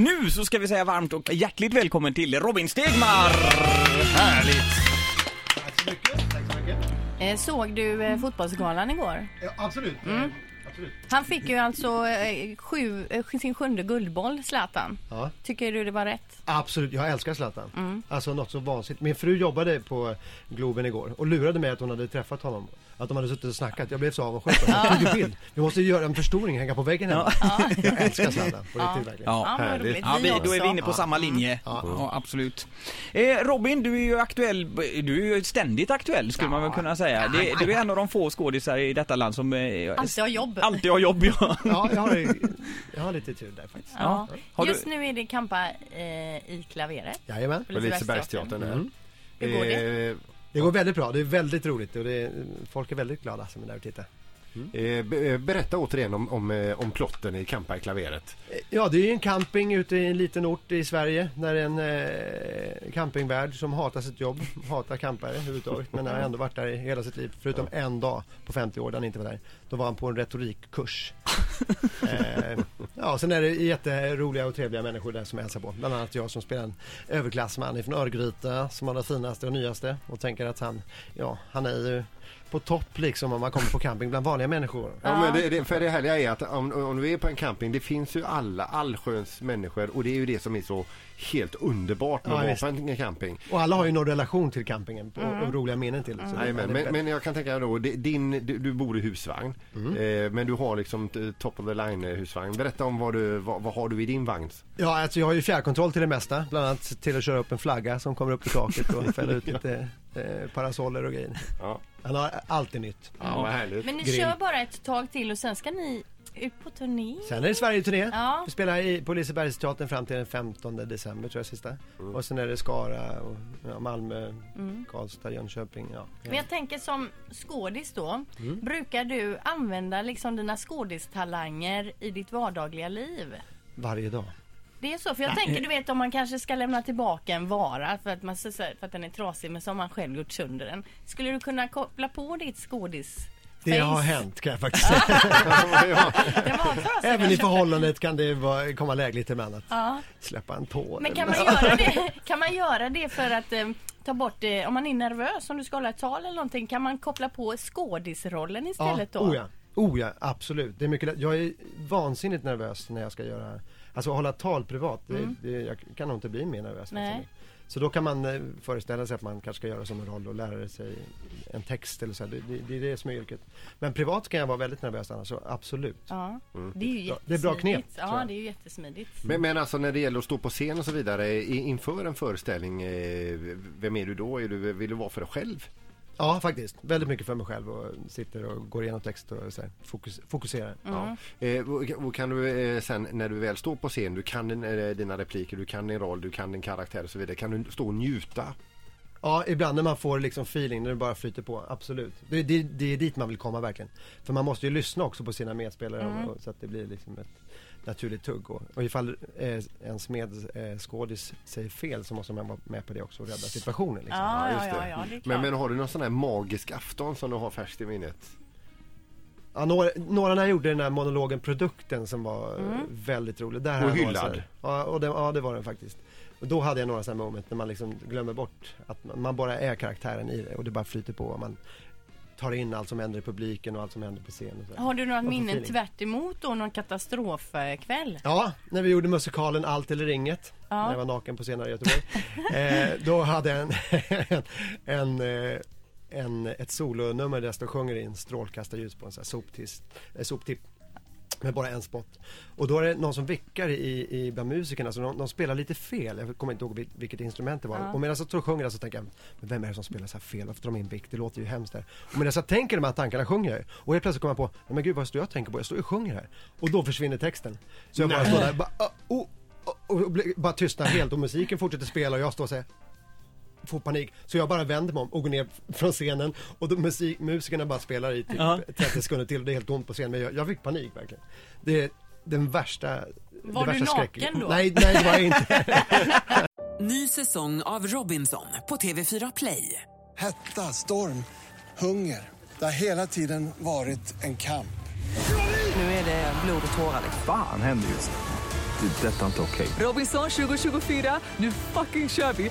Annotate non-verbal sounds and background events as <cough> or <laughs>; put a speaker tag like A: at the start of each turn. A: Nu så ska vi säga varmt och hjärtligt välkommen till Robin Stegmar! Härligt!
B: Tack så mycket. Tack så mycket.
C: Eh, Såg du eh, fotbollsgalan igår?
B: Ja, absolut.
A: Mm.
B: Eh, absolut.
C: Han fick ju alltså eh, sju, eh, sin sjunde guldboll, Zlatan.
B: Ja.
C: Tycker du det var rätt?
B: Absolut, jag älskar Zlatan.
A: Mm.
B: Alltså något så vansinnigt. Min fru jobbade på Globen igår och lurade mig att hon hade träffat honom. Att de hade suttit och snackat. Jag blev så avundsjuk. Jag tog en bild. Vi måste ju göra en förstoring, hänga på väggen hemma. <laughs> Jag älskar Zlatan på riktigt verkligen.
A: Ja.
C: vad
D: härligt.
C: roligt.
A: Ja,
C: Vi
A: vi, då
C: också.
A: är vi inne på samma linje. Ja, absolut. Eh, Robin, du är ju aktuell, du är ju ständigt aktuell skulle man väl kunna säga. Det, du är en av de få skådisar i detta land som eh,
C: Alltid har jobb.
A: alltid har jobb. Ja.
B: Ja, jag har, jag har lite tur där faktiskt.
C: Ja.
A: Har du-
C: Just nu är det Kampa eh, i klaveret.
B: Jajamän.
C: på
D: På Lisebergsteatern Eh, där.
C: Hur går
A: Eh,
D: det?
B: Det går väldigt bra. Det är väldigt roligt och det är, folk är väldigt glada som är där och tittar.
D: Eh, be- eh, berätta återigen om, om, eh, om plotten i Kampa i klaveret.
B: Ja, det är ju en camping ute i en liten ort i Sverige där en eh, campingvärd som hatar sitt jobb, hatar campare överhuvudtaget men har ändå varit där i hela sitt liv förutom en dag på 50 år där han inte var där. Då var han på en retorikkurs. eh, ja, sen är det jätteroliga och trevliga människor där som hälsar på. Bland annat jag som spelar en överklassman från Örgryte som har det finaste och nyaste och tänker att han, ja, han är ju på topp liksom om man kommer på camping bland vanliga människor.
D: Ja, men det, det, för det härliga är att om, om du är på en camping, det finns ju alla, allsköns människor och det är ju det som är så helt underbart med
B: Ja,
D: att
B: visst. Mm.
D: vara på en camping.
B: Och alla har ju någon relation till campingen och,
C: Mm.
B: och roliga minnen till. Så
D: Nej, men,
B: det är
D: men, men jag kan tänka då, det- din, du, du bor i husvagn, eh, men du har liksom t- top of the line eh, husvagn. Berätta om vad, du, vad, vad har du i din vagn?
B: Ja, alltså jag har ju fjärrkontroll till det mesta. Bland annat till att köra upp en flagga som kommer upp i taket och
D: <laughs>
B: fälla ut lite eh, parasoller och grejer.
D: Ja,
B: Han har alltid nytt.
D: ja vad härligt.
C: Men ni
B: Grym.
C: kör bara ett tag till och sen ska ni ut på turné.
B: Sen är det Sverige-turné.
C: Ja.
B: Vi spelar i, på Lisebergsteatern fram till den 15 december tror jag sista.
D: Mm.
B: Och sen är det Skara, och, ja, Malmö, Karlstad, Jönköping. Ja.
C: Mm. Men jag tänker som skådis då.
A: Mm.
C: Brukar du använda liksom dina skådistalanger i ditt vardagliga liv?
B: Varje dag.
C: Det är så, för jag tänker du vet om man kanske ska lämna tillbaka en vara för att, man, så- så- för att den är trasig men så har man själv gjort sönder den. Skulle du kunna koppla på ditt skådis
B: Det har hänt kan jag faktiskt
C: <laughs>
B: säga.
D: <laughs>
C: Det var trasig
B: <laughs> Även i
C: kanske.
B: förhållandet kan det vara, komma lägligt emellanåt.
C: Ja.
B: Släppa en tår.
C: Men kan man, göra det, kan man göra det för att eh, ta bort, eh, om man är nervös om du ska hålla ett tal eller någonting, kan man koppla på skådisrollen istället
B: ja,
C: då?
B: Oh ja. Oh ja, absolut. Det är mycket, lätt. jag är vansinnigt nervös när jag ska göra, alltså hålla tal privat. Det, det, jag kan nog inte bli mer nervös.
C: Mm. Nej.
B: faktiskt. Så då kan man eh, föreställa sig att man kanske ska göra som en roll och lära sig en text eller så. här. Det, det, det är det som är yrket. Men privat kan jag vara väldigt nervös annars, så absolut.
C: Ja, Det är ju
B: Ja, det är bra knep,
C: jättesmidigt.
B: tror
C: Ja,
B: jag.
C: det är ju jättesmidigt.
D: Mm. Men, men alltså när det gäller att stå på scen och så vidare i- inför en föreställning, eh, vem är du då? Är du, vill du vara för dig själv?
B: Ja, faktiskt. Väldigt mycket för mig själv och sitter och går igenom text och så här, fokus, fokuserar.
C: Mm.
D: Ja. Eh, och- och kan du eh, sen när du väl står på scen, du kan din, eh, dina repliker, du kan din roll, du kan din karaktär och så vidare. Kan du stå och njuta?
B: Ja, ibland när man får liksom feeling, när det bara flyter på. Absolut. Det, det, det är dit man vill komma verkligen. För man måste ju lyssna också på sina medspelare och, och, så att det blir liksom ett naturligt tugg. Och, och ifall eh, ens medskådis säger fel så måste man vara med på det också och rädda situationen. Liksom.
C: Ja, ja,
D: just
C: ja,
D: det.
C: ja, det är klart.
D: Men, men har du någon sån här magisk afton som du har färskt i minnet?
B: Ja, några, några när jag gjorde den där monologen Produkten som var eh,
C: Mm.
B: väldigt rolig. Där hade jag några
D: hyllad.
B: så här- Ja, och den, ja, det var den faktiskt. Och då hade jag några sådana moment när man liksom glömmer bort att man, man bara är karaktären i det och det bara flyter på. Och man tar in allt som händer i publiken och allt som händer på scen. Och så. här.
C: Har du några
B: för
C: minnen
B: feeling?
C: tvärt emot då, någon katastrofkväll?
B: Ja, när vi gjorde musikalen Allt eller inget,
C: Ja.
B: när jag var naken på scenen i
C: <laughs>
B: Göteborg. eh, då hade jag en, en, <laughs> en, eh, en, ett solonummer där jag står och sjunger in strålkastarljus på en sån här soptiss, eh, soptipp. Med bara en spot. Och då är det någon som vickar i, i bland musikerna, så de, de spelar lite fel. Jag kommer inte ihåg vil- vilket instrument det var. Och medan jag tror sjunger där så tänker jag, men vem är det som spelar så här fel? Varför tar de in vikt? Det låter ju hemskt där. Och medan jag tänker de här tankarna sjunger jag ju. Och helt plötsligt kommer jag på, "Nej, men gud vad står jag och tänker på? Jag står ju och sjunger här. Och då försvinner texten. Så jag bara står där, bara, "Ah, oh, och, och, och blir- bara tystnar helt och musiken fortsätter spela och jag står och säger får panik. Så jag bara vänder mig om och går ner från scenen och då musik, musikerna bara spelar i typ
A: Ja.
B: 30 sekunder till och det är helt tomt på scenen. Men jag, jag fick panik verkligen. Det är den värsta
C: Var
B: det
C: du
B: värsta
C: naken
B: skräcken.
C: då?
B: Nej, nej det var jag inte.
E: Ny säsong av Robinson på TV4 Play.
F: Hetta, storm, hunger. Det har hela tiden varit en kamp.
E: Nu är det blod och tårar.
G: Fan händer just det. det, detta är inte okej.
H: Robinson 2024, nu fucking kör vi!